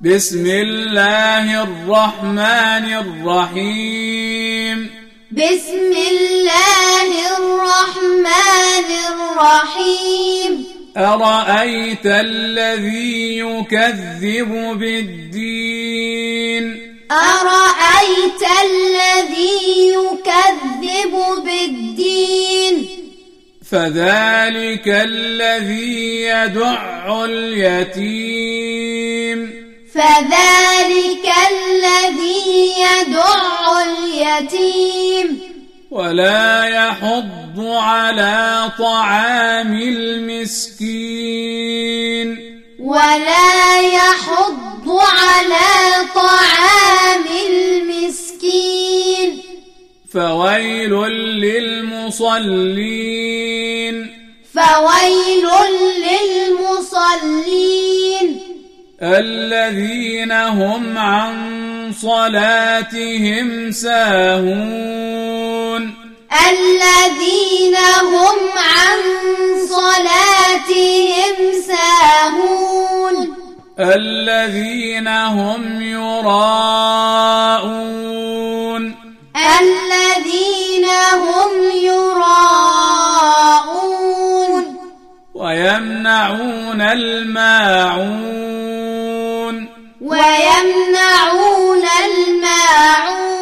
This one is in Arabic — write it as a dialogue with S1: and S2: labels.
S1: بسم الله الرحمن الرحيم
S2: بسم الله الرحمن الرحيم
S1: أرأيت الذي يكذب بالدين
S2: أرأيت الذي يكذب بالدين
S1: فذلك الذي يدع اليتيم
S2: فذلك الذي يدع اليتيم
S1: ولا يحض على طعام المسكين
S2: ولا يحض على طعام المسكين
S1: فويل للمصلين
S2: فويل للمصلين
S1: الذين هم عن صلاتهم ساهون
S2: الذين هم عن صلاتهم ساهون
S1: الذين هم يراءون
S2: الذين هم يراءون
S1: ويمنعون الماعون
S2: ويمنعون الماعون